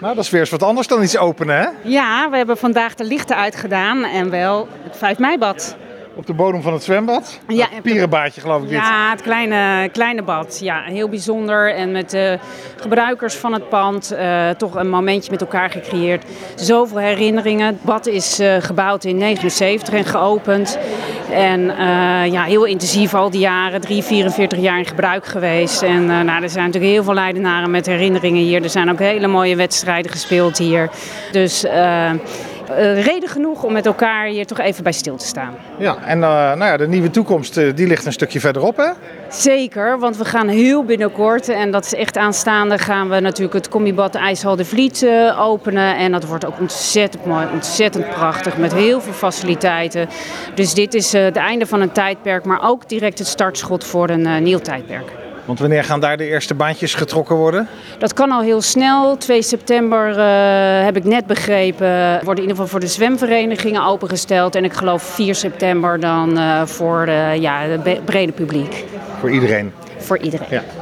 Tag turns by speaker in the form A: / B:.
A: Nou, dat is weer eens wat anders dan iets openen, hè?
B: Ja, we hebben vandaag de lichten uitgedaan en wel het 5 meibad.
A: Op de bodem van het zwembad.
B: Ja,
A: het pierenbaadje, geloof ik dit.
B: Ja, het kleine, kleine bad. Ja, heel bijzonder. En met de gebruikers van het pand eh, toch een momentje met elkaar gecreëerd. Zoveel herinneringen. Het bad is eh, gebouwd in 79 en geopend. En eh, ja, heel intensief al die jaren. 3, 44 jaar in gebruik geweest. En eh, nou, er zijn natuurlijk heel veel Leidenaren met herinneringen hier. Er zijn ook hele mooie wedstrijden gespeeld hier. Dus... eh, eh, reden genoeg om met elkaar hier toch even bij stil te staan.
A: Ja, en eh, nou ja, de nieuwe toekomst eh, die ligt een stukje verderop, hè?
B: Zeker, want we gaan heel binnenkort, en dat is echt aanstaande, gaan we natuurlijk het combibad IJshal de Vliet eh, openen. En dat wordt ook ontzettend mooi, ontzettend prachtig, met heel veel faciliteiten. Dus dit is eh, het einde van een tijdperk, maar ook direct het startschot voor een eh, nieuw tijdperk.
A: Want wanneer gaan daar de eerste baantjes getrokken worden?
B: Dat kan al heel snel. 2 september, eh, heb ik net begrepen, worden in ieder geval voor de zwemverenigingen opengesteld. En ik geloof 4 september dan eh, voor eh, ja, het be- brede publiek,
A: Voor iedereen.
B: voor iedereen.
A: Ja.